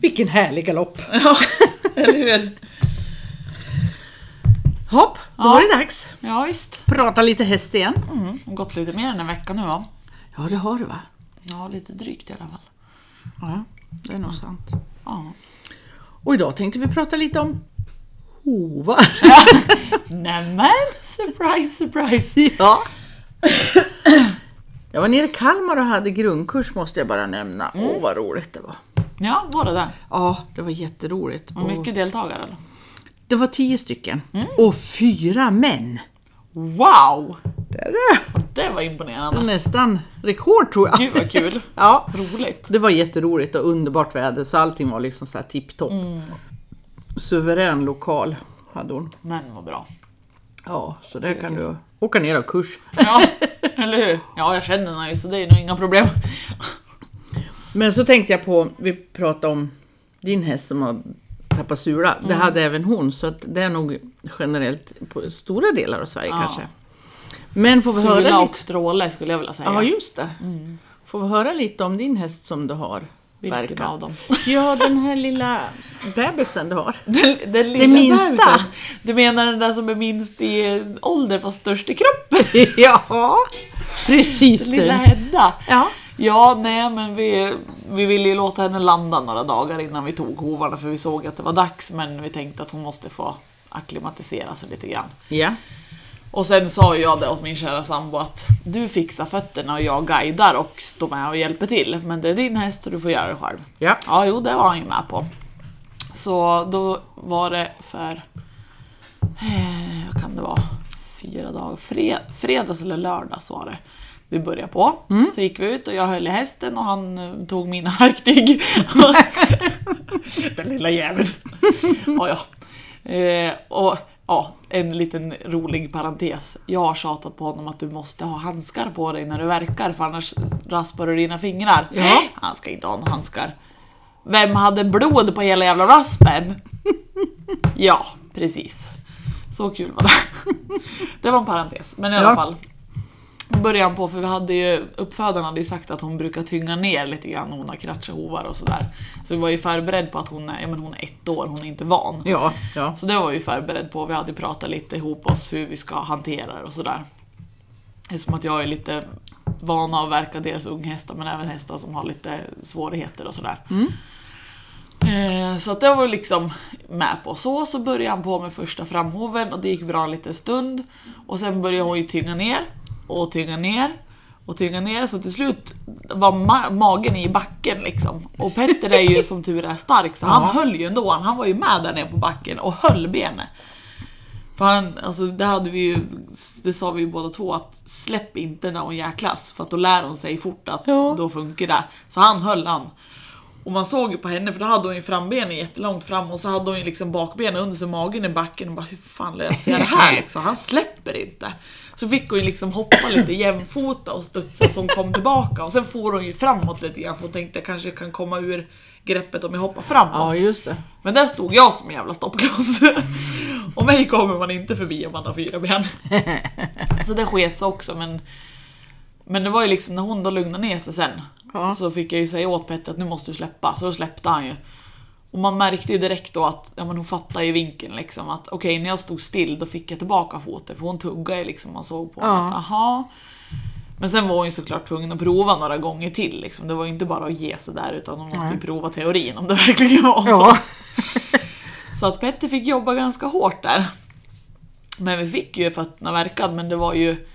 Vilken härlig galopp! Ja, eller hur? Hopp, då Ja. var det dags! Ja, visst. Prata lite häst igen. Mm. har Gått lite mer än en vecka nu va? Ja, det har du va? Ja, lite drygt i alla fall. Ja, det är nog sant. Ja. Och idag tänkte vi prata lite om hovar. Nämen! Surprise, surprise! Ja. Jag var nere i Kalmar och hade grundkurs måste jag bara nämna. Åh vad roligt det var. Ja, var det där? Mm. Ja, det var jätteroligt. Mm. Och mycket deltagare eller? Det var tio stycken. Och fyra män. Wow! Där är Det var imponerande. det. Nästan rekord tror jag. Gud vad kul! Ja, Roligt. det var jätteroligt och underbart väder så allting var liksom så här tipptopp. Mm. Suverän lokal hade hon. Men vad bra. Ja, så där kan du åka ner och kurs. Ja, eller hur? Ja, jag känner henne ju så det är nog inga problem. Men så tänkte jag på, vi pratade om din häst som har tappat sula. Det Mm. hade även hon, så att det är nog generellt på stora delar av Sverige Ja. kanske. Men får vi höra Sula lite... och Mm. stråle skulle jag vilja säga. Ja, just det. Får vi höra lite om din häst som du har Vilken verkat? av dem? Ja, den här lilla bebisen du har. Den, den lilla minsta. bebisen. Du menar den där som är minst i ålder fast störst i kroppen? ja, precis Den lilla den. Hedda. Ja. Ja, nej men vi, vi ville ju låta henne landa några dagar innan vi tog hovarna för vi såg att det var dags men vi tänkte att hon måste få acklimatisera sig lite grann. ja. Och sen sa jag det åt min kära sambo att du fixar fötterna och jag guidar och står med och hjälper till. Men det är din häst så du får göra det själv. Ja. Ja, jo det var han ju med på. Så då var det för, eh, vad kan det vara, fyra dagar, fred, fredags eller lördags var det vi började på. Så gick vi ut och jag höll i hästen och han eh, tog mina verktyg. Den lilla jäveln. ja, ja. Eh, och ja, en liten rolig parentes. Jag har tjatat på honom att du måste ha handskar på dig när du verkar för annars raspar du dina fingrar. Ja. Han ska inte ha några handskar. Vem hade blod på hela jävla raspen? ja, precis. Så kul var det. det var en parentes, men i Ja. alla fall. Början på, för vi hade ju, uppfödaren hade ju sagt att hon brukar tynga ner lite grann, hon har kratscha hovar och sådär. Så vi var ju förberedd på att hon är, ja, men hon är ett år, hon är inte van. Ja, ja. Så det var vi förberedd på. Vi hade pratat lite ihop oss hur vi ska hantera det och sådär. Eftersom att jag är lite van att verka deras unghästar men även hästar som har lite svårigheter och sådär. Eh, Så att det var liksom med på. Så så började han på med första framhoven och det gick bra en liten stund. Och sen började hon ju tynga ner och tynga ner och tynga ner så till slut var ma- magen i backen liksom. Och Petter är ju som tur är stark så han höll ju ändå. Han, han var ju med där nere på backen och höll benet. För han, alltså det hade vi ju, det sa vi ju båda två att släpp inte när hon jäklas för att då lär hon sig fort att Ja. då funkar det. Så han höll han. Och man såg ju på henne för då hade hon ju frambenen jättelångt fram och så hade hon ju liksom bakbenen under sig magen i backen och bara hur fan löser jag det här liksom? Han släpper inte. Så fick hon ju liksom hoppa lite jämfota och studsa så hon kom tillbaka och sen får hon ju framåt lite grann för hon tänkte jag kanske kan komma ur greppet om jag hoppar framåt. Ja, just det. Men där stod jag som en jävla stoppkloss. Och mig kommer man inte förbi om man har fyra ben. Så det sket sig också men Men det var ju liksom när hon då lugnade ner sig sen Ja. Så fick jag ju säga åt Petter att nu måste du släppa, så då släppte han ju. Och man märkte ju direkt då att ja, men hon fattade ju vinkeln liksom att okej när jag stod still då fick jag tillbaka foten för hon tuggade ju liksom man såg på Ja. henne att aha. Men sen var hon ju såklart tvungen att prova några gånger till liksom. Det var ju inte bara att ge sig där utan hon måste ju prova teorin om det verkligen var så. Ja. Så att Petter fick jobba ganska hårt där. Men vi fick ju fötterna verkad men det var ju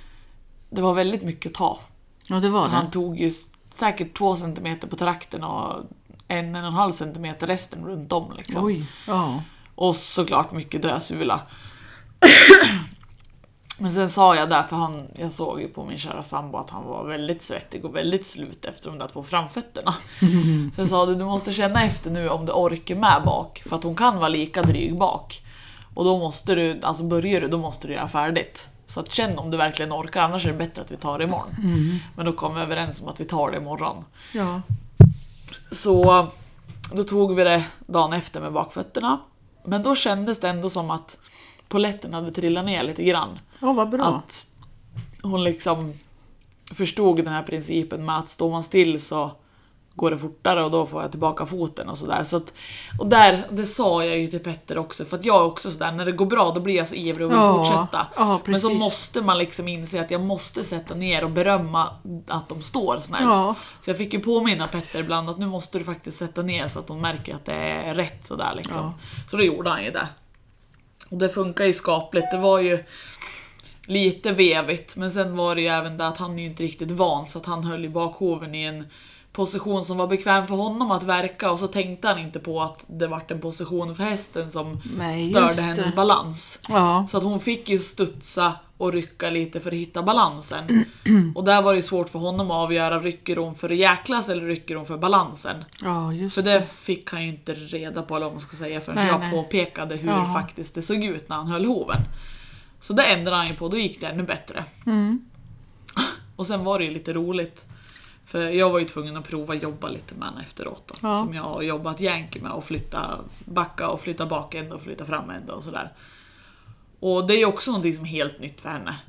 Det var väldigt mycket att ta. ja, det var Han det. tog ju säkert två centimeter på trakten och en, en och en halv centimeter resten runt om liksom. Oj. Ja. Och såklart mycket dösula. Men sen sa jag där, för han, jag såg ju på min kära sambo att han var väldigt svettig och väldigt slut efter de där två framfötterna. Så jag sa det, du måste känna efter nu om du orkar med bak, för att hon kan vara lika dryg bak. Och då måste du, alltså börjar du, då måste du göra färdigt. Så att känn om du verkligen orkar, annars är det bättre att vi tar det imorgon. Men då kom vi överens om att vi tar det imorgon. ja. Så då tog vi det dagen efter med bakfötterna. Men då kändes det ändå som att poletten hade trillat ner lite grann. Ja, vad bra. Att hon liksom förstod den här principen med att står man still så går det fortare och då får jag tillbaka foten och sådär. Så att, och där, det sa jag ju till Petter också, för att jag är också sådär, när det går bra då blir jag så ivrig och vill Ja, fortsätta. ja, Men så precis. måste man liksom inse att jag måste sätta ner och berömma att de står snällt. Ja. Så jag fick ju påminna Petter ibland att nu måste du faktiskt sätta ner så att de märker att det är rätt sådär liksom. Ja. Så då gjorde han ju det. Och det funkar ju skapligt. Det var ju lite vevigt, men sen var det ju även det att han är ju inte riktigt van så att han höll i bakhoven i en position som var bekväm för honom att verka och så tänkte han inte på att det vart en position för hästen som Nej, just störde det. hennes balans. Ja. Så att hon fick ju studsa och rycka lite för att hitta balansen. Och där var det ju svårt för honom att avgöra, rycker hon för att jäklas eller rycker hon för balansen? ja, just För det fick han ju inte reda på eller vad man ska säga förrän Nej, jag nej. påpekade hur Ja. faktiskt det såg ut när han höll hoven. Så det ändrade han ju på, då gick det ännu bättre. Mm. Och sen var det ju lite roligt. För jag var ju tvungen att prova jobba lite med henne efteråt. Då, Ja. Som jag har jobbat jänk med och flytta backa och flytta bak ända och flytta fram ända och sådär. Och det är ju också någonting som är helt nytt för henne.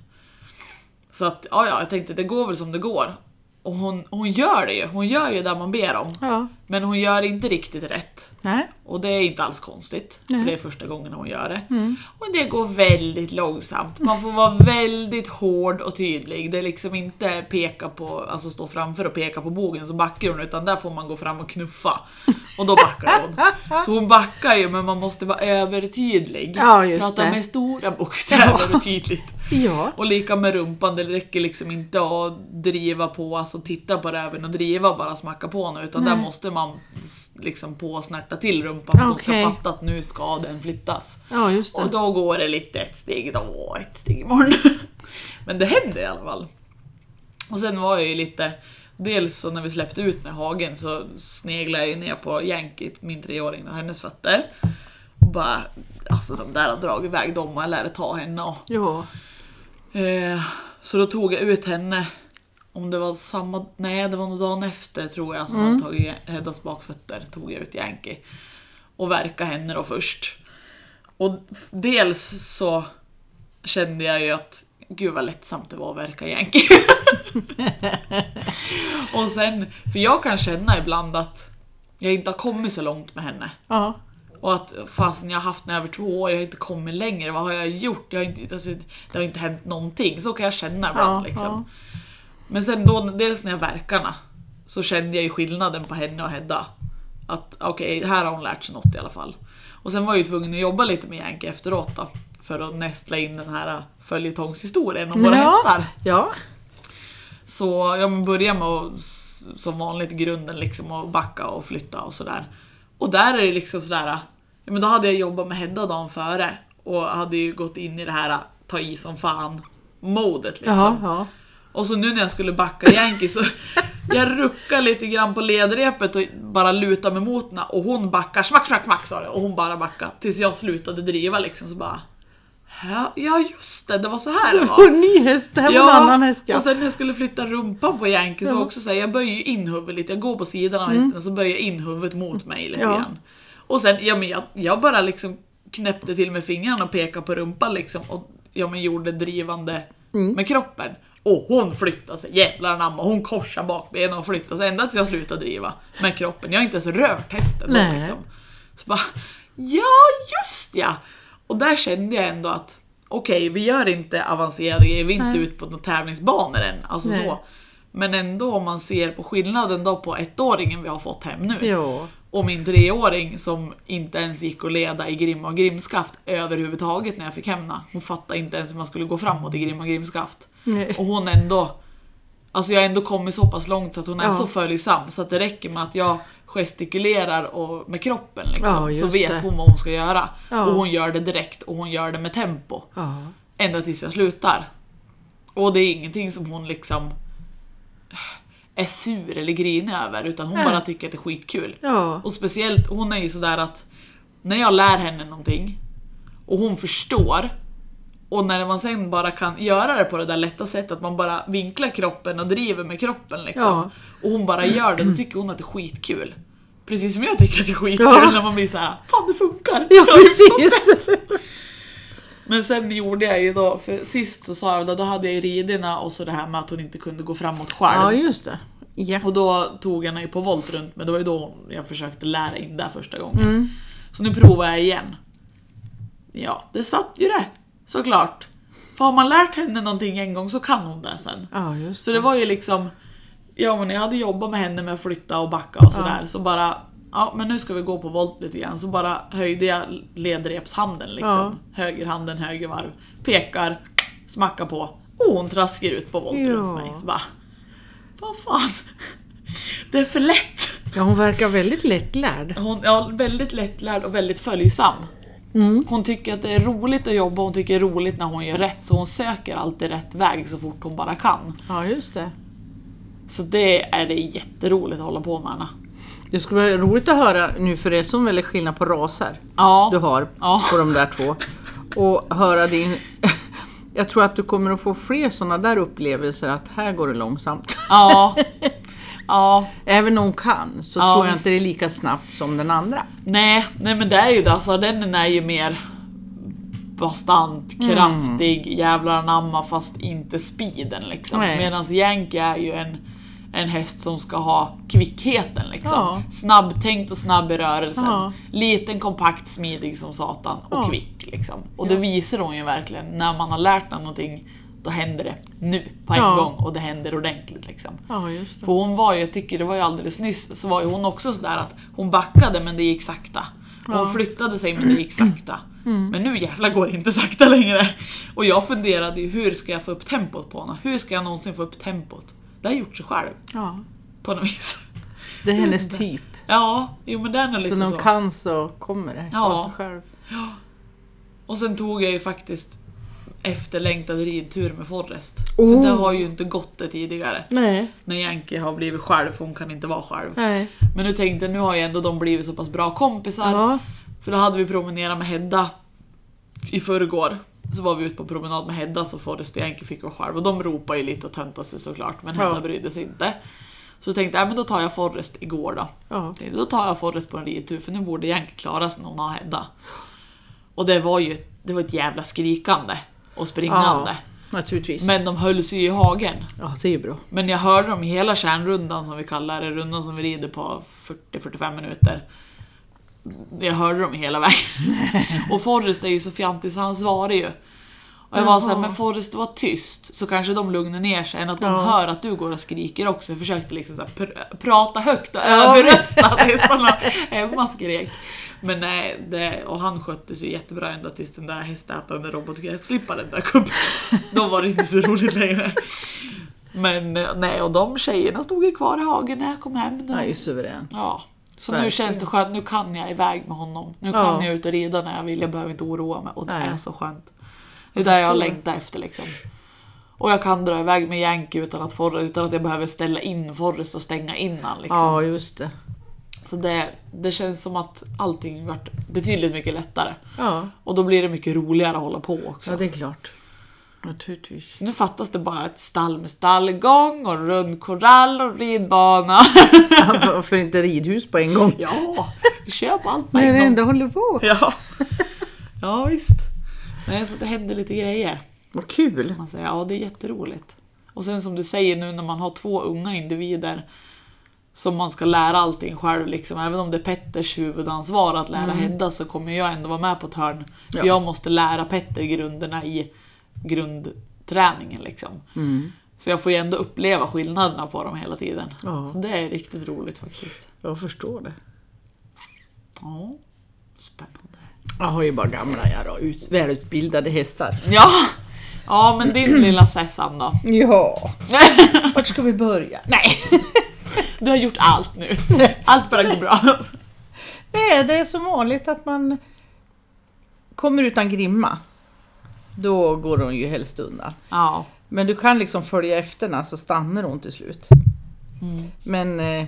Så att, ja, ja jag tänkte det går väl som det går. Och hon, hon gör det ju, hon gör ju där man ber om. Ja. Men hon gör inte riktigt rätt. Nej. Och det är inte alls konstigt, Nej. Mm. för det är första gången hon gör det. Och det går väldigt långsamt. Man får vara väldigt hård och tydlig. Det är liksom inte peka på, alltså stå framför och peka på bogen så backar hon, utan där får man gå fram och knuffa. Och då backar hon. Så hon backar ju, men man måste vara övertydlig. Ja, just Prata det. med stora bokstäver och tydligt. Ja. Och lika med rumpan, det räcker liksom inte att driva på, alltså titta på röven och driva och bara smacka på nu utan där Nej. måste man s- liksom påsnärta till rumpan för Okej. de ska fatta att nu ska den flyttas. Ja, just Och det. då går det lite ett steg idag och ett steg imorgon. Men det hände i alla fall. Och sen var jag ju lite, dels så när vi släppte ut med hagen så sneglade jag ju ner på Yankee, min treåring och hennes fötter. Och bara, alltså de där har dragit iväg dem och jag lärde ta henne och Ja. Eh, så då tog jag ut henne. Om det var samma... Nej, det var nog dagen efter tror jag som hade tagit Heddas bakfötter. Tog jag ut Yankee. Och verka henne då först. Och f- dels så kände jag ju att gud vad lättsamt det var att verka Yankee. och sen, för jag kan känna ibland att jag inte har kommit så långt med henne. Ja. Och att fasen jag har haft den i över två år, jag har inte kommit längre, vad har jag gjort? Jag har inte, alltså, det har inte hänt någonting, så kan jag känna ibland. Ja, liksom. ja. Men sen då, dels när jag verkarna så kände jag ju skillnaden på henne och Hedda. Att okej, här har hon lärt sig något i alla fall. Och sen var jag ju tvungen att jobba lite med Yankee efteråt då, för att nästla in den här följetongshistorien om våra Ja. hästar. Ja. Så jag börjar med att, s- som vanligt grunden liksom att backa och flytta och sådär. Och där är det liksom sådär, ja, men då hade jag jobbat med Hedda dagen före och hade ju gått in i det här ta i som fan modet liksom. Ja. Ja. Och så nu när jag skulle backa Yankee så jag ruckar lite grann på ledrepet och bara lutar mig mot henne och hon backar smack, smack, smack sa det och hon bara backar tills jag slutade driva liksom så bara "Hä? Ja just det, det var så här det var. Och en ny häst. Det här var en annan häst. Ja. Och sen när jag skulle flytta rumpan på Yankee Ja. så var Mm. jag också säga jag böjer ju in huvudet lite. Jag går på sidan av hästen och så böjer jag in huvudet mot mig lite Ja. grann. Och sen, ja men jag, jag bara liksom knäppte till med fingrarna och pekade på rumpan liksom och ja men gjorde drivande Mm. med kroppen. Och hon flyttade sig, jävlar anamma, hon korsade bakbenen och flyttade sig ända tills jag slutade driva med kroppen. Jag har inte ens rört hästen då Nej. liksom. Så bara, ja just ja! Och där kände jag ändå att okej, vi gör inte avancerade grejer, vi är inte Nej. ute på några tävlingsbanor än. Alltså Nej. så. Men ändå om man ser på skillnaden då på ettåringen vi har fått hem nu ja. och min treåring som inte ens gick att leda i grimma och grimskaft överhuvudtaget när jag fick hemna. Hon fattade inte ens hur man skulle gå framåt i grimma och grimskaft. Nej. Och hon ändå... Alltså jag har ändå kommit så pass långt så att hon är Ja. så följsam så att det räcker med att jag gestikulerar och, med kroppen liksom, Ja, så just vet det. hon vad hon ska göra. Ja. Och hon gör det direkt och hon gör det med tempo. Ja. Ända tills jag slutar. Och det är ingenting som hon liksom är sur eller grinig över utan hon Nej. bara tycker att det är skitkul. Ja. Och speciellt, hon är ju sådär att när jag lär henne någonting och hon förstår och när man sen bara kan göra det på det där lätta sättet, att man bara vinklar kroppen och driver med kroppen liksom. Ja. Och hon bara gör det, då tycker hon att det är skitkul. Precis som jag tycker att det är skitkul Ja. när man blir såhär, fan det funkar! Ja, precis. Men sen gjorde jag ju då, för sist så sa jag det, då hade jag ju ridorna och så det här med att hon inte kunde gå framåt själv. Ja, just det. Ja. Och då tog jag henne på volt runt men det var ju då jag försökte lära in där första gången. Mm. Så nu provar jag igen. Ja, det satt ju det. Såklart. För har man lärt henne någonting en gång så kan hon det sen. Ja, just Så det var ju liksom, ja men jag hade jobbat med henne med att flytta och backa och sådär. Så bara, ja men nu ska vi gå på volt lite grann. Så bara höjde jag ledrepshanden liksom. Högerhanden, höger varv. Pekar, smackar på. Och hon traskar ut på volt Ja. runt mig. Så bara, vad fan. Det är för lätt. Ja, hon verkar väldigt lättlärd. Hon är väldigt lättlärd och väldigt följsam. Hon tycker att det är roligt att jobba, hon tycker det är roligt när hon gör rätt så hon söker alltid rätt väg så fort hon bara kan. Ja, just det. Så det är det jätteroligt att hålla på med henne. Det skulle vara roligt att höra nu, för det är sån väldig skillnad på raser Ja. du har Ja. på de där två. Och höra din... Jag tror att du kommer att få fler sådana där upplevelser att här går det långsamt. Ja. ja. Även om hon kan så Ja, tror jag visst. inte det är lika snabbt som den andra. Nej, nej men det är ju det alltså. Den är ju mer bastant, Mm. kraftig, jävlar anamma fast inte speeden liksom. Nej. Medan Yankee är ju en, en häst som ska ha kvickheten liksom. Ja. Snabbtänkt och snabb i rörelsen. Ja. Liten, kompakt, smidig som satan och Ja. kvick liksom. Och det visar hon ju verkligen. När man har lärt henne någonting då händer det nu på en Ja. gång och det händer ordentligt liksom. Ja, just För hon var ju, jag tycker det var ju alldeles nyss, så var ju hon också sådär att hon backade men det gick sakta. Och hon flyttade sig men det gick sakta. Mm. Men nu jävlar går det inte sakta längre. Och jag funderade ju hur ska jag få upp tempot på henne? Hur ska jag någonsin få upp tempot? Det har jag gjort sig själv Ja. på något vis. Det är hennes typ. Ja, jo men den är Så lite när så. hon kan så kommer det Ja. av sig själv. Och sen tog jag ju faktiskt efterlängtad ridtur med Forrest. Oh. För det har ju inte gått det tidigare. Nej. När Yankee har blivit själv, för hon kan inte vara själv. Nej. Men nu tänkte jag, nu har ju ändå de blivit så pass bra kompisar. Ja. För då hade vi promenerat med Hedda i förrgår. Så var vi ute på promenad med Hedda så Forrest och Yankee fick vara själv och de ropade ju lite och töntade sig såklart men Hedda Ja. brydde sig inte. Så tänkte jag, "Äh, men då tar jag Forrest igår då. Ja. Tänkte, Då tar jag Forrest på en ridtur för nu borde Yankee klara sig när hon har Hedda. Och det var ju det var ett jävla skrikande och springande. ja. Naturligtvis. Men de höll sig ju i hagen. Ja, det är ju bra. Men jag hörde dem i hela kärnrundan som vi kallar det, rundan som vi rider på 40-45 minuter. Jag hörde dem hela vägen. och Forrest är ju så fjantig så han svarar ju. Och jag var såhär, men Forrest var tyst så kanske de lugnar ner sig än att de Ja. hör att du går och skriker också. Jag försökte liksom så här, pr- prata högt och Ja. överrösta tills han hemma skrek. Men nej, det, och han skötte sig jättebra ända tills den där hästätande robotgräsklipparen dök upp. Då var det inte så roligt längre. Men eh, nej, och de tjejerna stod ju kvar i hagen när jag kom hem. Det är Då. ju suveränt. Ja. Så nu Verkligen. känns det skönt, nu kan jag iväg med honom. Nu Ja. kan jag ut och rida när jag vill, jag behöver inte oroa mig. Och det Nej. är så skönt. Det är där jag förstår. längtar efter liksom. Och jag kan dra iväg med Yankee utan att, Forre, utan att jag behöver ställa in Forrest och stänga in han, liksom. Ja, just det. Så det, det känns som att allting varit betydligt mycket lättare. Ja. Och då blir det mycket roligare att hålla på också. ja, det är klart. Naturligtvis. Så nu fattas det bara ett stall med stallgång och rund korall och ridbana. Ja, Varför inte ridhus på en gång? Ja, köp allt på Nej, det en gång. ändå håller på. Ja. ja, visst. Nej, så det händer lite grejer. Vad kul. Man säger, ja det är jätteroligt. Och sen som du säger nu när man har två unga individer som man ska lära allting själv. Liksom. Även om det är Petters huvudansvar att lära Hedda så kommer jag ändå vara med på ett hörn. För Mm. Ja. jag måste lära Petter grunderna i grundträningen. Liksom. Mm. Så jag får ju ändå uppleva skillnaderna på dem hela tiden. Ja. Så det är riktigt roligt faktiskt. Jag förstår det. Ja, spännande. Jag har ju bara gamla jag då, ut, välutbildade hästar. Ja, ja men din lilla Sessan då? Ja. Vart ska vi börja? Nej. Du har gjort allt nu. Allt bara går bra. Nej, det är som vanligt att man kommer utan grimma. Då går hon ju helst undan. Ja. Men du kan liksom följa efter henne så stannar hon till slut. Mm. Men eh,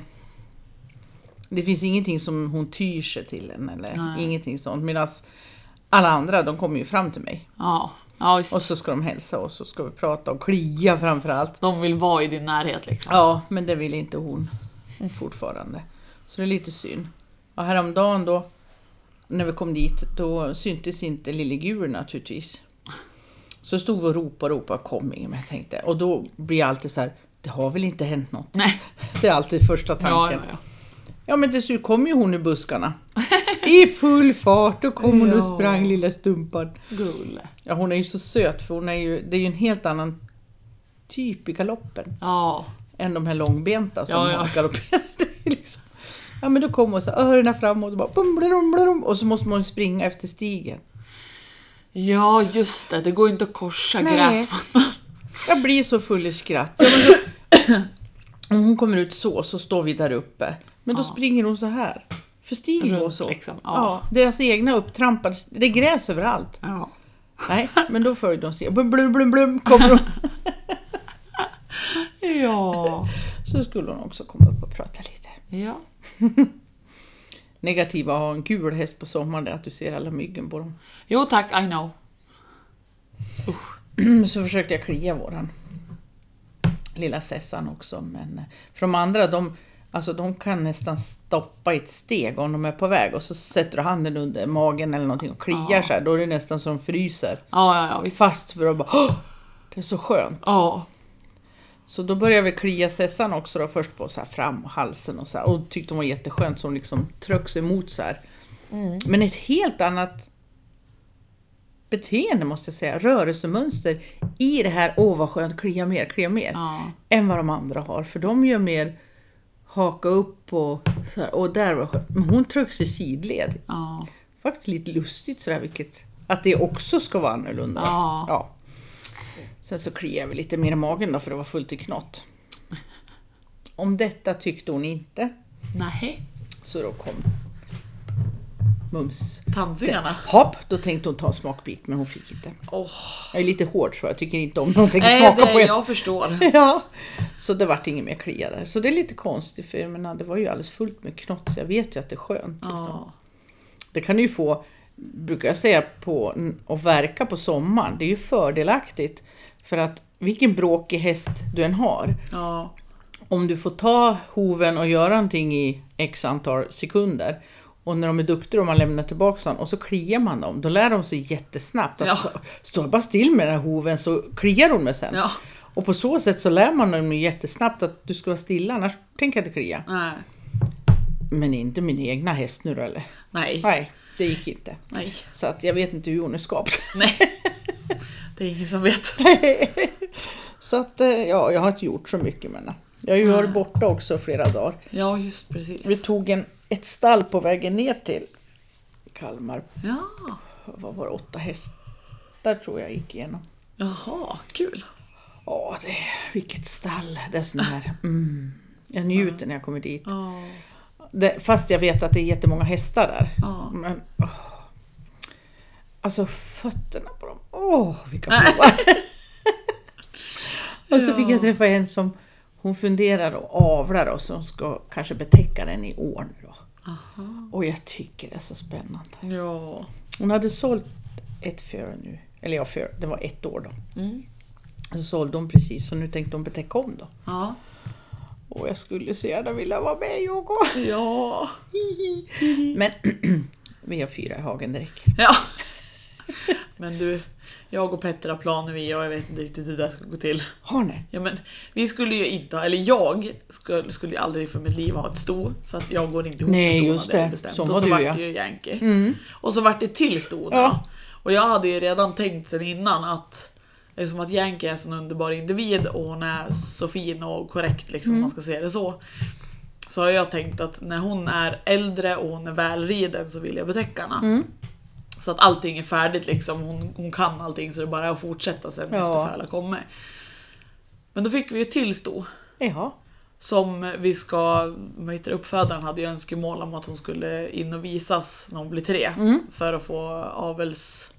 det finns ingenting som hon tyr sig till än eller Nej. ingenting sånt. Medan alla andra de kommer ju fram till mig Ja, ja visst. och så ska de hälsa och så ska vi prata och klia framförallt. De vill vara i din närhet liksom. Ja, men det vill inte hon fortfarande. Så det är lite synd. Och häromdagen då, när vi kom dit, då syntes inte lille Gur naturligtvis. Så stod vi och ropade och ropade, kom Ingemar, tänkte jag. Och då blir jag alltid så här, det har väl inte hänt något? Nej. Det är alltid första Ja, tanken. ja, Ja, ja. men till slut kom ju hon ur buskarna. I full fart, och kom hon och Ja. sprang lilla stumpan. Gulle. Ja, hon är ju så söt för hon är ju, det är ju en helt annan typ i galoppen Ja, än de här långbenta som Ja, ja. har galopperat. Det är liksom. Ja men då kom hon så här, öronen framåt och bara bum, blum, blum, och så måste man springa efter stigen. Ja, just det. Det går ju inte att korsa Nej. gräsmattan. Jag blir så full i skratt. Ja, men då, om hon kommer ut så, så står vi där uppe. Men då Ja. springer hon så här. För stigen går Runt så. liksom. Ja. Ja. deras egna upptrampade, det är gräs överallt. ja. Nej, men då följde hon stigen. Blum, blum, blum, blum, kommer hon. Ja. Så skulle hon också komma upp och prata lite. Ja. negativa att ha en gul häst på sommaren det är att du ser alla myggen på dem. Jo tack, I know. Så försökte jag klia våran lilla Sessan också men eh, för de andra de, alltså, de kan nästan stoppa i ett steg om de är på väg och så sätter du handen under magen eller någonting och kliar Ja. så här, då är det nästan som de fryser. Ja, ja, ja visst. Fast för att bara "Åh, Det är så skönt. Ja. Så då började vi klia Sessan också då först på så här fram och halsen och så här, och tyckte hon var jätteskönt som liksom trycks emot så här. Men ett helt annat beteende måste jag säga, rörelsemönster i det här åh vad skönt, klia mer, klia mer. ja. Än vad de andra har, för de gör mer haka upp och så här, åh där var skönt. Men hon trycks i sidled. Ja. Faktiskt lite lustigt sådär vilket, att det också ska vara annorlunda. Ja. Ja. Sen så kliar vi lite mer i magen då för det var fullt i knott. Om detta tyckte hon inte, Nej. så då kom Mums. Tandzingarna. Hopp, då tänkte hon ta en smakbit men hon fick inte. Åh. Jag är lite hård så jag tycker inte om någonting Nej, smakar på det, en. jag förstår. Ja. Så det vart inget mer klia där. Så det är lite konstigt för jag menar, det var ju alldeles fullt med knott så jag vet ju att det är skönt. Liksom. Ja. Det kan du ju få, brukar jag säga, på att verka på sommaren. Det är ju fördelaktigt. För att vilken bråkig häst du än har, Ja. om du får ta hoven och göra någonting i x antal sekunder och när de är duktiga och man lämnar tillbaka dem och så kliar man dem, då lär de sig jättesnabbt. Att Ja. så, står jag bara still med den här hoven så kliar hon mig sen. Ja. Och på så sätt så lär man dem ju jättesnabbt att du ska vara stilla annars tänker jag inte klia. Nej. Men inte min egna häst nu då eller? Nej. Nej, det gick inte. Nej. Så att jag vet inte hur hon är skapt. Nej. Det är ingen som vet. Så att, eh, ja, jag har inte gjort så mycket med henne. Jag har ju varit borta också flera dagar. Ja, just Vi precis. tog en, ett stall på vägen ner till Kalmar. Ja. Vad var det? Åtta hästar tror jag gick igenom. Jaha, kul. Ja, det, vilket stall. Det är sån här... Mm, jag njuter när jag kommer dit. Ja. Det, fast jag vet att det är jättemånga hästar där. Ja. Men, åh. Alltså fötterna på dem. Åh, vilka blåa! och så fick jag träffa en som hon funderar och avlar och som ska kanske betäcka den i år nu då. Aha. Och jag tycker det är så spännande. Ja. Hon hade sålt ett före nu. Eller ja, före, det var ett år då. Mm. Så sålde hon precis och nu tänkte hon betäcka om då. Ja. Och jag skulle så gärna vilja vara med Jogo. Ja. Men vi har fyra i hagen direkt. Ja. Men du, jag och Petter har planer vi och jag vet inte riktigt hur det här ska gå till. Har ni? Ja, men vi skulle ju inte ha, eller jag skulle, skulle ju aldrig för mitt liv ha ett sto för att jag går inte ihop Nej, med ston, just hade jag det. bestämt. Sån och var så du, vart ja. det ju Yankee. Mm. Och så vart det till sto Ja. ja. Och jag hade ju redan tänkt sen innan att Eftersom att Yankee är en sån underbar individ och hon är så fin och korrekt liksom, om man ska se det så. Så har jag tänkt att när hon är äldre och hon är välriden så vill jag betäcka henne. Så att allting är färdigt liksom. Hon, hon kan allting så det är bara är att fortsätta sen Ja. efter Färla kommer. Men då fick vi ju till sto. Jaha. Som vi ska, vad heter det, uppfödaren hade ju önskemål om att hon skulle in och visas när hon blir tre. Mm. För att få avels...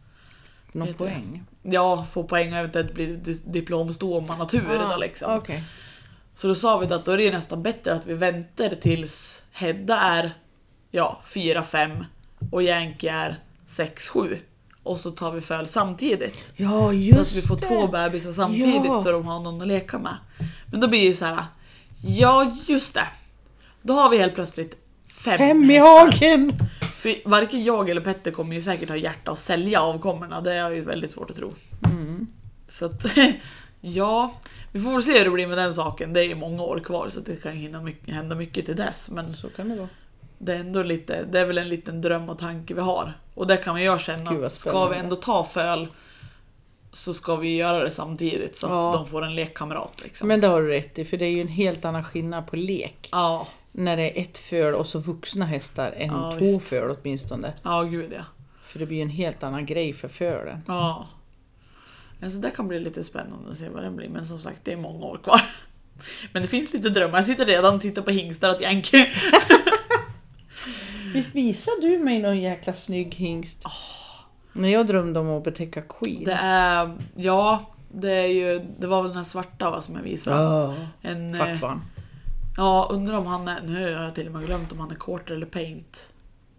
Någon Heter det? poäng? Ja, få poäng och eventuellt bli di- diplomstå om man har tur Ah, då liksom. okej. Så då sa vi att då är det nästan bättre att vi väntar tills Hedda är ja, 4-5 och Yankee är 6-7. Och så tar vi föl samtidigt. Ja, så just att vi får det. två bebisar samtidigt Ja. så de har någon att leka med. Men då blir det ju så här. Ja, just det. Då har vi helt plötsligt fem, Hem i hästar. hagen! För varken jag eller Petter kommer Mm. ju säkert ha hjärta att sälja avkommorna. Det är ju väldigt svårt att tro. Så att Ja, vi får väl se hur det blir med den saken. Det är ju många år kvar så det kan ju hinna mycket, hända mycket till dess. Men Så kan det vara. det är ändå lite, det är väl en liten dröm och tanke vi har. Och där kan jag känna Gud, vad att ska vi spännande. ändå ta föl så ska vi göra det samtidigt så att Ja. de får en lekkamrat. Liksom. Men det har du rätt i, för det är ju en helt annan skillnad på lek. Ja, När det är ett föl och så vuxna hästar än Ja, två visst. föl åtminstone. ja gud ja. För det blir ju en helt annan grej för fölen. ja. Alltså det kan bli lite spännande att se vad den blir men som sagt det är många år kvar. Men det finns lite drömmar. Jag sitter redan och tittar på hingstar åt Yankee. Visst visade du mig någon jäkla snygg hingst? När jag drömde om att betäcka Queen. Ah. Det är, ja, det är ju, det var väl den här svarta va, som jag visade. Ja, En, eh, fuck vad han. ja, undrar om han är, nu har jag till och med glömt om han är quarter eller paint.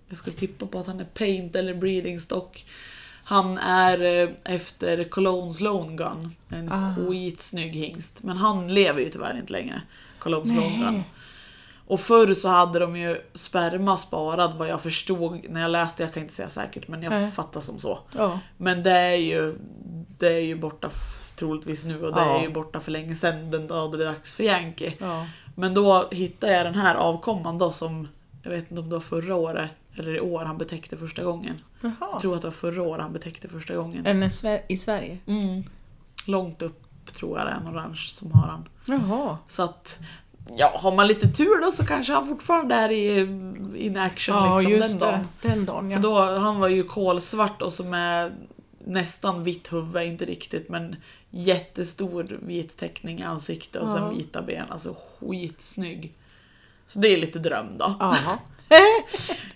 Jag skulle tippa på att han är paint eller breeding stock. Han är eh, efter Colognes Lone Gun. En Ah. skitsnygg hingst. Men han lever ju tyvärr inte längre. Colognes Nej. Lone Gun. Och förr så hade de ju sperma sparad vad jag förstod när jag läste, jag kan inte säga säkert men jag Nej. fattar som så. Ja. Men det är ju, det är ju borta f- troligtvis nu och det Ja. är ju borta för länge sedan den dag det är dags för Yankee. Ja. Men då hittade jag den här avkomman då som, jag vet inte om det var förra året eller i år han betäckte första gången. Jag Jaha. tror att det var förra året han betäckte första gången. Är den i Sve- i Sverige? Mm. Långt upp tror jag det är en orange som har han. Jaha. Så att, ja har man lite tur då så kanske han fortfarande är i in action Ja, liksom just den dagen. det. Den dagen ja. För då, han var ju kolsvart och som är nästan vitt huvud, inte riktigt men jättestor vit teckning i ansiktet och Ja. sen vita ben. Alltså skitsnygg. Så det är lite dröm då. Jaha.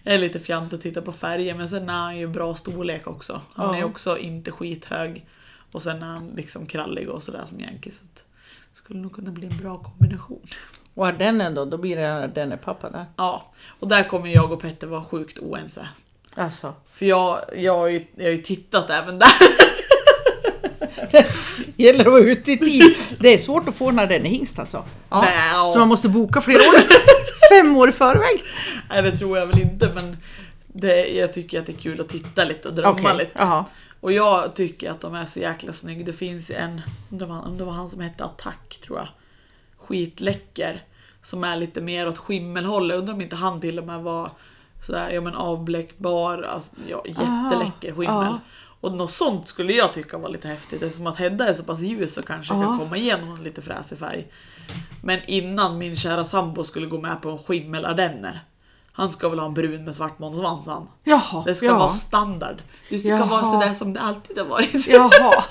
Jag är lite fjant att titta på färger men sen är han ju bra storlek också. Han Ja. är ju också inte skithög. Och sen är han liksom krallig och sådär som Yankee. Så att det skulle nog kunna bli en bra kombination. Och är den ändå, då blir det den är pappa där. Ja, och där kommer jag och Petter vara sjukt oense. Alltså. För jag, jag, har, ju, jag har ju tittat även där. Gäller att vara ute i tid. Det är svårt att få när den är hingst alltså. Ja. Nej. Så man måste boka flera år. Fem år i förväg. Nej det tror jag väl inte men det, jag tycker att det är kul att titta lite och drömma lite. Jaha. Och jag tycker att de är så jäkla snygga. Det finns ju en, om det, var, om det var han som hette Attack tror jag, skitläcker. Som är lite mer åt skimmelhållet. Undrar om inte han till och med var sådär, ja men avbläckbar, alltså, ja, jätteläcker Aha, skimmel. ja. Och något sånt skulle jag tycka var lite häftigt eftersom att Hedda är så pass ljus och kanske Ja. kan komma igenom en lite fräsig färg. Men innan min kära sambo skulle gå med på en skimmelardenner. Han ska väl ha en brun med svart månsvans han. Jaha. Det ska ja. vara standard. Du ska Jaha. vara sådär som det alltid har varit. Jaha.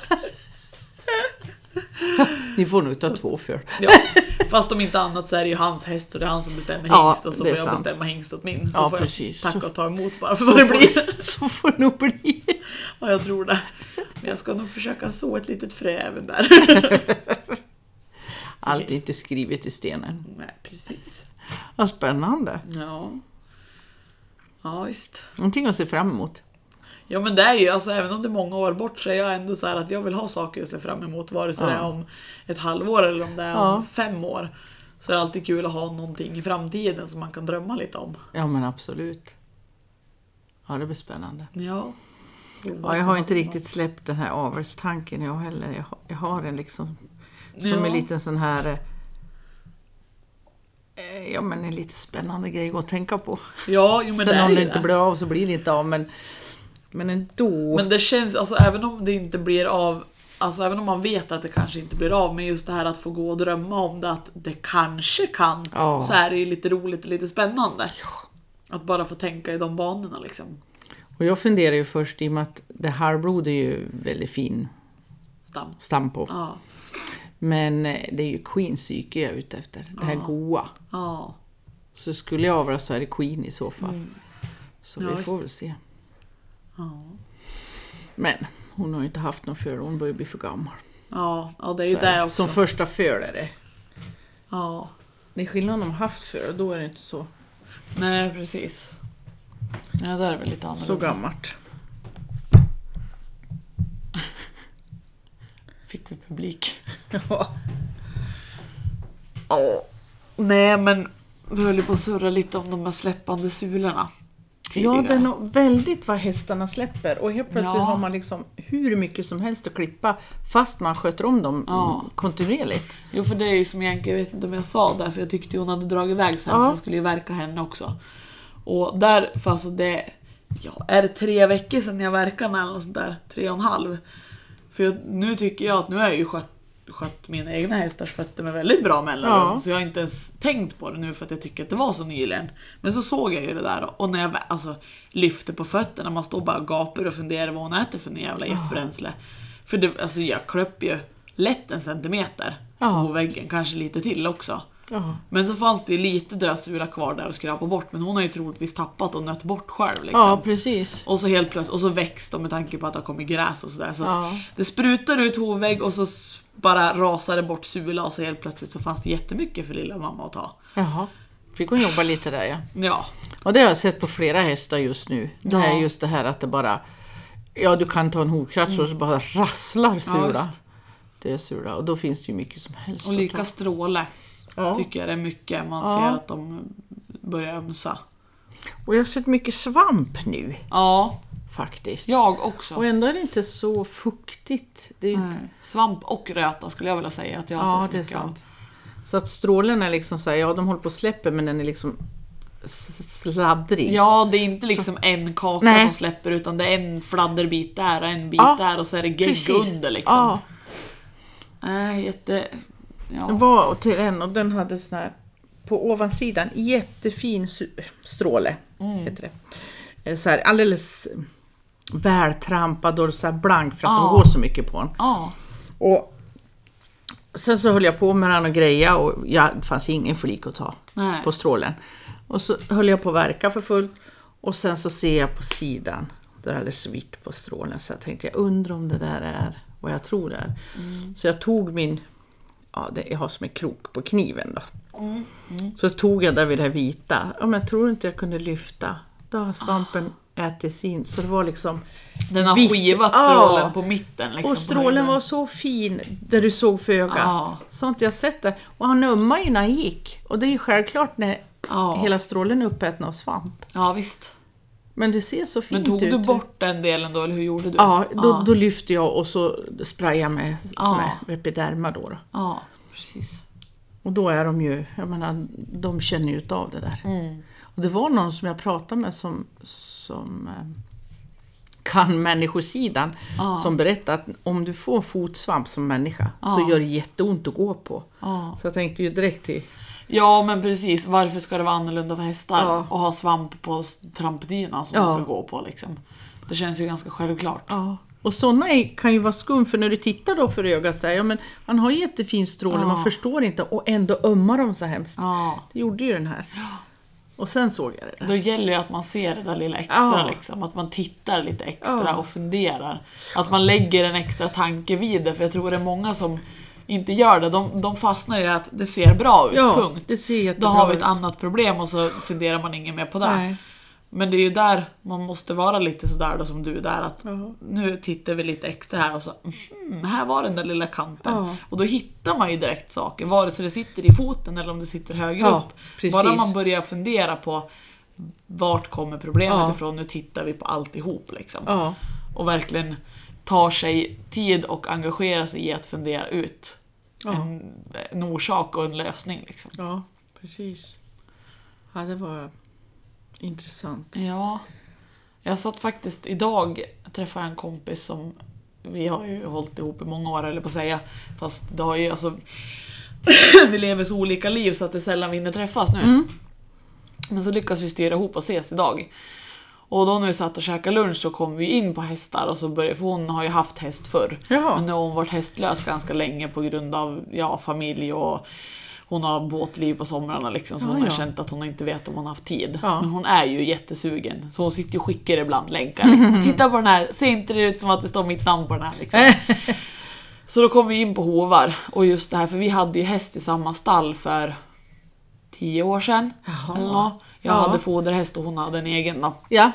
Ni får nog ta två för. Ja. Fast om inte annat så är det ju hans häst så det är han som bestämmer Ja, hingst och så det får är jag sant. bestämma hingst åt min. Så Ja, får precis. jag tacka och ta emot bara för vad det blir. Så får det nog bli. Ja, jag tror det. Men jag ska nog försöka så ett litet frö även där. Allt är inte skrivet i stenen. Nej, precis. Vad spännande. Ja. Ja, visst. Någonting att se fram emot. Ja men det är ju, alltså även om det är många år bort så är jag ändå så här att jag vill ha saker att se fram emot vare sig Ja. det är om ett halvår eller om det är Ja. om fem år. Så är det alltid kul att ha någonting i framtiden som man kan drömma lite om. Ja men absolut. Ja det blir spännande. Ja. Ja, jag har inte riktigt släppt den här avelstanken jag heller. Jag har, jag har den liksom som Ja. en liten sån här eh, eh, Ja men en lite spännande grej att tänka på. Ja, jo, men det Sen är om ju det det. inte blir av så blir det inte av men, men ändå. Men det känns, alltså även om det inte blir av Alltså även om man vet att det kanske inte blir av, men just det här att få gå och drömma om det, att det kanske kan, Ja. så är det ju lite roligt och lite spännande. Att bara få tänka i de banorna liksom. Och jag funderar ju först i och med att det halvblod är ju väldigt fin Stam. stam på. Ja. Men eh, det är ju Queens psyke jag är ute efter. Det här goa. Ja. Så skulle jag avla så är det Queen i så fall. Så Mm. Ja, vi visst. får väl se. Ja. Men hon har ju inte haft någon föl, hon börjar bli för gammal. Ja, ja det är ju Så här, det också. Som första föl är det. Ja, Det är skillnad om de har haft föl, då är det inte så, nej precis. Ja, det är väl lite annorlunda. så gammalt. Fick vi publik. Ja. Ja. Nej men vi höll ju på att surra lite om de här släppande sulorna. tidigare. Ja, det är nog väldigt vad hästarna släpper och helt plötsligt Ja. har man liksom hur mycket som helst att klippa fast man sköter om dem Ja. mm, kontinuerligt. Jo för det är ju som Bianca, jag vet inte om jag sa det, för jag tyckte hon hade dragit iväg sen Ja. så jag skulle ju verka henne också. Och där, för alltså det, ja, är det tre veckor sedan jag verkade henne eller något sånt där? Tre och en halv? För jag, nu tycker jag att nu har jag ju skött, skött mina egna hästars fötter med väldigt bra mellanrum Ja. så jag har inte ens tänkt på det nu för att jag tycker att det var så nyligen. Men så såg jag ju det där och när jag vä- alltså, lyfter på fötterna, man står bara och gapar och funderar vad hon äter för en jävla jetbränsle. För det, alltså, jag klöpp ju lätt en centimeter Ja. på väggen, kanske lite till också. Ja. Men så fanns det ju lite dödsula kvar där och skrapa bort men hon har ju troligtvis tappat och nött bort själv. Liksom. ja, precis. Och så helt plötsligt, och så väcks de med tanke på att det har kommit gräs och sådär. Så att Ja. Det sprutar ut hovvägg och så s- bara rasar det bort sula och så helt plötsligt så fanns det jättemycket för lilla mamma att ta. Jaha. Fick hon jobba lite där ja. Ja, Och det har jag sett på flera hästar just nu. Det Ja. är just det här att det bara... Ja, du kan ta en hovkratsch och så bara rasslar sula. Mm. visst. det är sula. Och då finns det ju mycket som helst. och att lika stråle ta. ja. tycker jag det är mycket. Man Ja. ser att de börjar ömsa. Och jag har sett mycket svamp nu Ja, faktiskt. jag också. Och ändå är det inte så fuktigt. Det är ju inte... Nej. Svamp och röta skulle jag vilja säga att jag har Ja, sett det är mycket av. sant. Så att strålen är liksom så här, ja de håller på att släppa men den är liksom s- sladdrig. Ja, det är inte liksom en kaka Nej. som släpper utan det är en fladderbit där och en bit Ja, där och så är det gegg precis. under liksom. Ja, Nej, jätte... Ja. den var och till en och den hade sån här på ovansidan jättefin su- stråle. Mm. Heter det. Eh, Så här, alldeles vältrampad och så här blank för att Ja. de går så mycket på den. ja. Och sen så höll jag på med den och greja och jag, det fanns ingen flik att ta Nej. på strålen. Och så höll jag på att verka för fullt och sen så ser jag på sidan, där är det alldeles vitt på strålen, så jag tänkte jag undrar om det där är vad jag tror det är. Mm. Så jag tog min, ja det, jag har som en krok på kniven då. Mm, Så tog jag där vid det här vita, ja, men jag tror inte jag kunde lyfta. Då har svampen ätit sig in, så det var liksom Ah. Den har vitt. skivat Ja. strålen på mitten. Liksom, Och på strålen höjden. var så fin där du såg för ögat. Ja. Sånt jag sett det. Och han ömmade ju när han gick. Och det är ju självklart när Ja. hela strålen är uppäten av svamp. Ja, visst. Men det ser så fint Men tog ut. du bort den delen då, eller hur gjorde du? typ. Ja, då, då lyfte jag och så sprayade jag med Ja. sån här Repiderma då, då. Ja, precis. Och då är de ju, jag menar, de känner ju utav det där. Mm. Och det var någon som jag pratade med som, som eh, kan människosidan som berättade att om du får fotsvamp som människa så gör det jätteont att gå på. Ja. Så jag tänkte ju direkt till, ja, men precis. Varför ska det vara annorlunda för hästar Ja. och ha svamp på s- trampdynan som Ja. de ska gå på? Liksom. Det känns ju ganska självklart. ja. Och sådana är- kan ju vara skum för när du tittar då för ögat så här, ja men han har jättefin stråle, Ja. man förstår inte och ändå ömmar de så hemskt. Ja. Det gjorde ju den här. Och sen såg jag det där. Då gäller det att man ser det där lilla extra, Ja. liksom. att man tittar lite extra Ja. och funderar. Att man lägger en extra tanke vid det, för jag tror det är många som inte gör det. De, de fastnar i att det ser bra ut, Ja, punkt. det ser Då jättebra har vi ut. ett annat problem och så funderar man inget mer på det. Nej. Men det är ju där man måste vara lite sådär då som du där att Ja. nu tittar vi lite extra här och så mm, här var den där lilla kanten. Ja. Och då hittar man ju direkt saker, vare sig det sitter i foten eller om det sitter högre Ja, upp. precis. Bara man börjar fundera på vart kommer problemet Ja. ifrån, nu tittar vi på alltihop liksom. Ja. Och verkligen tar sig tid och engagerar sig i att fundera ut Ja. en, en orsak och en lösning. Liksom. Ja, precis. Ja, det var intressant. Ja. Jag satt faktiskt idag, jag träffade en kompis som vi har ju hållit ihop i många år eller på att säga. Fast det har ju alltså... vi lever så olika liv så att det är sällan vi hinner träffas nu. Mm. Men så lyckas vi styra ihop och ses idag. Och då när vi satt och käkade lunch så kom vi in på hästar och så började, för hon har ju haft häst förr. Jaha. Men nu har hon varit hästlös ganska länge på grund av ja, familj och hon har båtliv på somrarna liksom så Ja, hon har Ah, ja. känt att hon inte vet om hon har haft tid. Ja. Men hon är ju jättesugen så hon sitter ju och skickar ibland länkar. Liksom. Titta på den här, ser inte det ut som att det står mitt namn på den här? Liksom. så då kom vi in på hovar och just det här för vi hade ju häst i samma stall för tio år sedan. Jaha. Eller nå. jag Ja. hade foderhäst och hon hade en egen. Då. Ja,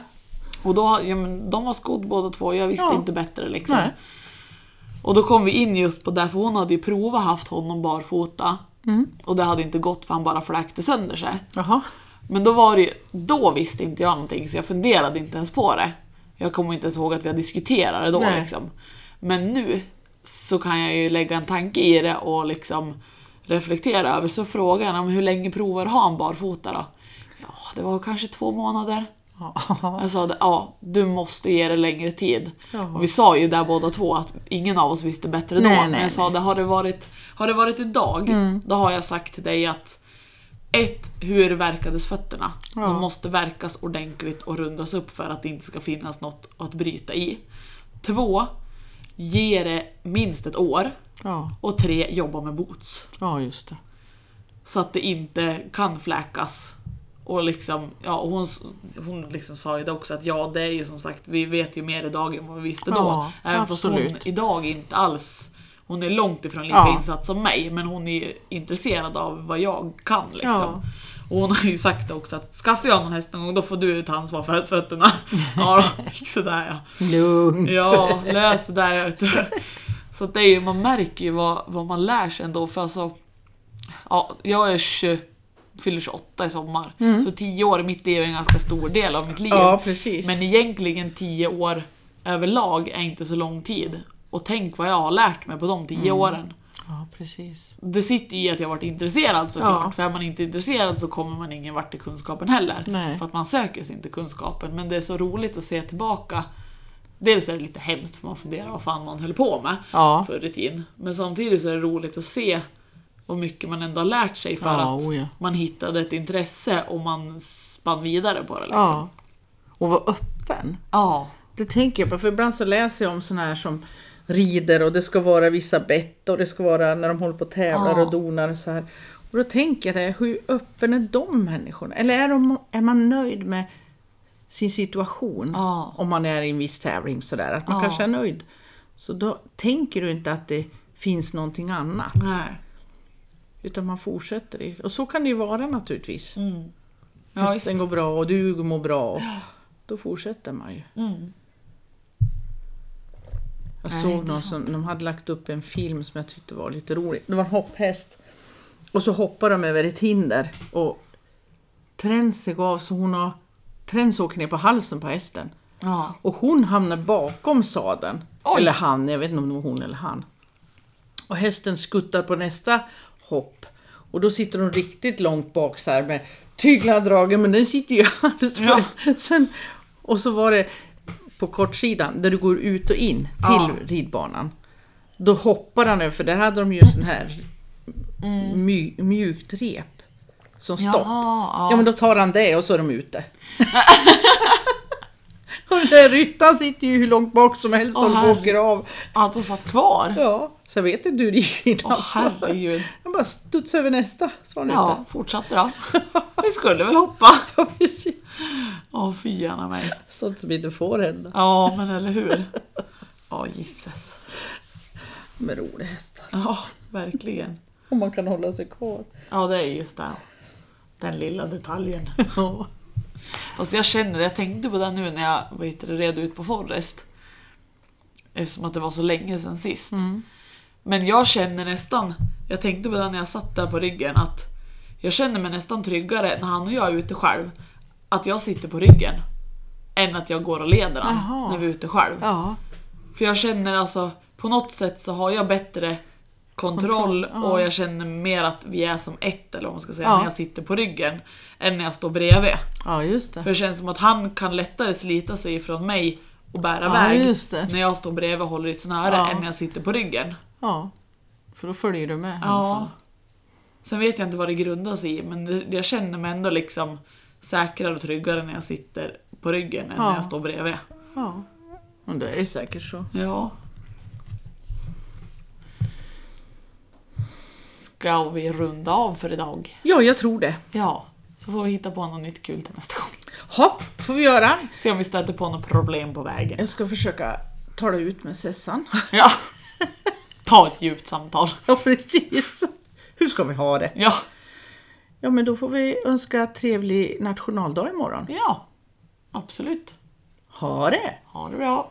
Och då, ja, men, de var skod båda två, jag visste Ja. inte bättre liksom. Nej. Och då kom vi in just på det, för hon hade ju Mm. provat haft honom barfota. Och det hade inte gått för han bara fläkte sönder sig. jaha. Men då var det ju, då visste inte jag någonting så jag funderade inte ens på det. Jag kommer inte ens ihåg att vi har diskuterat det då Nej. liksom. Men nu så kan jag ju lägga en tanke i det och liksom reflektera över. Så frågan om hur länge provar han barfota då? Ja, det var kanske två månader. Ja. Jag sa det, ja, du måste ge det längre tid. Ja. Och vi sa ju där båda två att ingen av oss visste bättre då. Nej, nej, Mm. Men jag sa det, har det varit, har det varit idag, då har jag sagt till dig att ett, Hur verkades fötterna? Ja. De måste verkas ordentligt och rundas upp för att det inte ska finnas något att bryta i. Två, Ge det minst ett år. Ja. Och tre, Jobba med boots. ja, just det. Så att det inte kan fläkas. Och liksom, ja, och hon, s- hon liksom sa ju det också att ja, det är ju som sagt, vi vet ju mer idag än vad vi visste då. Ja, Även fast hon absolut. idag inte alls, hon är långt ifrån lika Ja. insatt som mig, men hon är ju intresserad av vad jag kan liksom. Ja. Och hon har ju sagt också att skaffar jag någon häst någon gång då får du ta ansvar för fötterna. ja, då gick sådär ja. Lugnt. Ja, lös det där vet du. Så att det är ju, man märker ju vad, vad man lär sig ändå för alltså Ja, jag är 20, fyller 28 i sommar. Så 10 år i mitt liv är en ganska stor del av mitt liv. Ja, precis. Men egentligen 10 år överlag är inte så lång tid. Och tänk vad jag har lärt mig på de 10 åren. Ja, precis. Det sitter ju i att jag varit intresserad såklart. Ja. För är man inte intresserad så kommer man ingen vart i kunskapen heller. Nej. För att man söker sig inte kunskapen. Men det är så roligt att se tillbaka. Dels är det lite hemskt för man funderar vad fan man höll på med Ja. förr i tiden. Men samtidigt så är det roligt att se vad mycket man ändå har lärt sig för Ja, att oh ja. man hittade ett intresse och man spann vidare på det. Liksom. Ja. Och vara öppen. ja. Det tänker jag på, för ibland så läser jag om sådana här som rider och det ska vara vissa bett och det ska vara när de håller på och tävlar Ja. och donar och så här. Och då tänker jag det, hur öppen är de människorna? Eller är, de, är man nöjd med sin situation? Ja. Om man är i en viss tävling sådär, att man Ja. kanske är nöjd. Så då tänker du inte att det finns någonting annat. Nej. Utan man fortsätter. i- Och så kan det ju vara naturligtvis. Mm. Ja, visst. Hästen går bra och du mår bra. Och då fortsätter man ju. Mm. Jag Nej, såg någon intressant. som de hade lagt upp en film som jag tyckte var lite rolig. Det var en hopphäst. Och så hoppar de över ett hinder och Trense gav så hon har... Trense åker ner på halsen på hästen. Ja. Och hon hamnar bakom sadeln. Oj. Eller han, jag vet inte om det var hon eller han. Och hästen skuttar på nästa hopp. Och då sitter hon riktigt långt bak så här med tyglarna dragen, men den sitter ju alldeles Ja. fast. Sen, Och så var det på kortsidan, där du går ut och in till Ja. ridbanan. Då hoppar han över, för där hade de ju sån här mju- mjukt rep som stopp. Mm. Jaha, ja. Ja men då tar han det och så är de ute. och den där ryttaren sitter ju hur långt bak som helst Åh, och herre. åker av. Att de satt kvar? Ja, så jag vet inte hur det gick Åh innanför. herregud. Han bara studsade över nästa, så var han Ja, ute. fortsatte då. Vi skulle väl hoppa? Ja, precis. Åh, fy gärna mig. Sånt som inte får hända Ja, men eller hur? Ja, gissas. med roliga hästar. Ja, verkligen. Om man kan hålla sig kvar. Ja, det är just det. Den lilla detaljen. Ja. Fast jag känner, jag tänkte på det nu när jag vad heter det, red ut på Forrest. Eftersom att det var så länge sedan sist. Mm. Men jag känner nästan, jag tänkte på det när jag satt där på ryggen, att jag känner mig nästan tryggare när han och jag är ute själv. Att jag sitter på ryggen. Än att jag går och leder han Jaha. när vi är ute själv. Ja. För jag känner alltså, på något sätt så har jag bättre kontroll, Kontroll, ja. och jag känner mer att vi är som ett eller vad man ska säga Ja. när jag sitter på ryggen. Än när jag står bredvid. ja, just För det. det känns som att han kan lättare slita sig ifrån mig och bära Ja, väg just det. när jag står bredvid och håller i ett snöre Ja. än när jag sitter på ryggen. Ja. För då följer du med. i alla Ja. fall. Sen vet jag inte vad det grundar sig i men det, jag känner mig ändå liksom säkrare och tryggare när jag sitter på ryggen än Ja. när jag står bredvid. ja. Men det är ju säkert så. Ja. Ska vi runda av för idag? Ja, jag tror det. Ja. Så får vi hitta på något nytt kul till nästa gång. Hopp, får vi göra. Se om vi stöter på något problem på vägen. Jag ska försöka tala ut med Sessan. Ja. Ta ett djupt samtal. Ja, precis. Hur ska vi ha det? Ja. Ja, men då får vi önska trevlig nationaldag imorgon. Ja, absolut. Ha det! Ha det bra.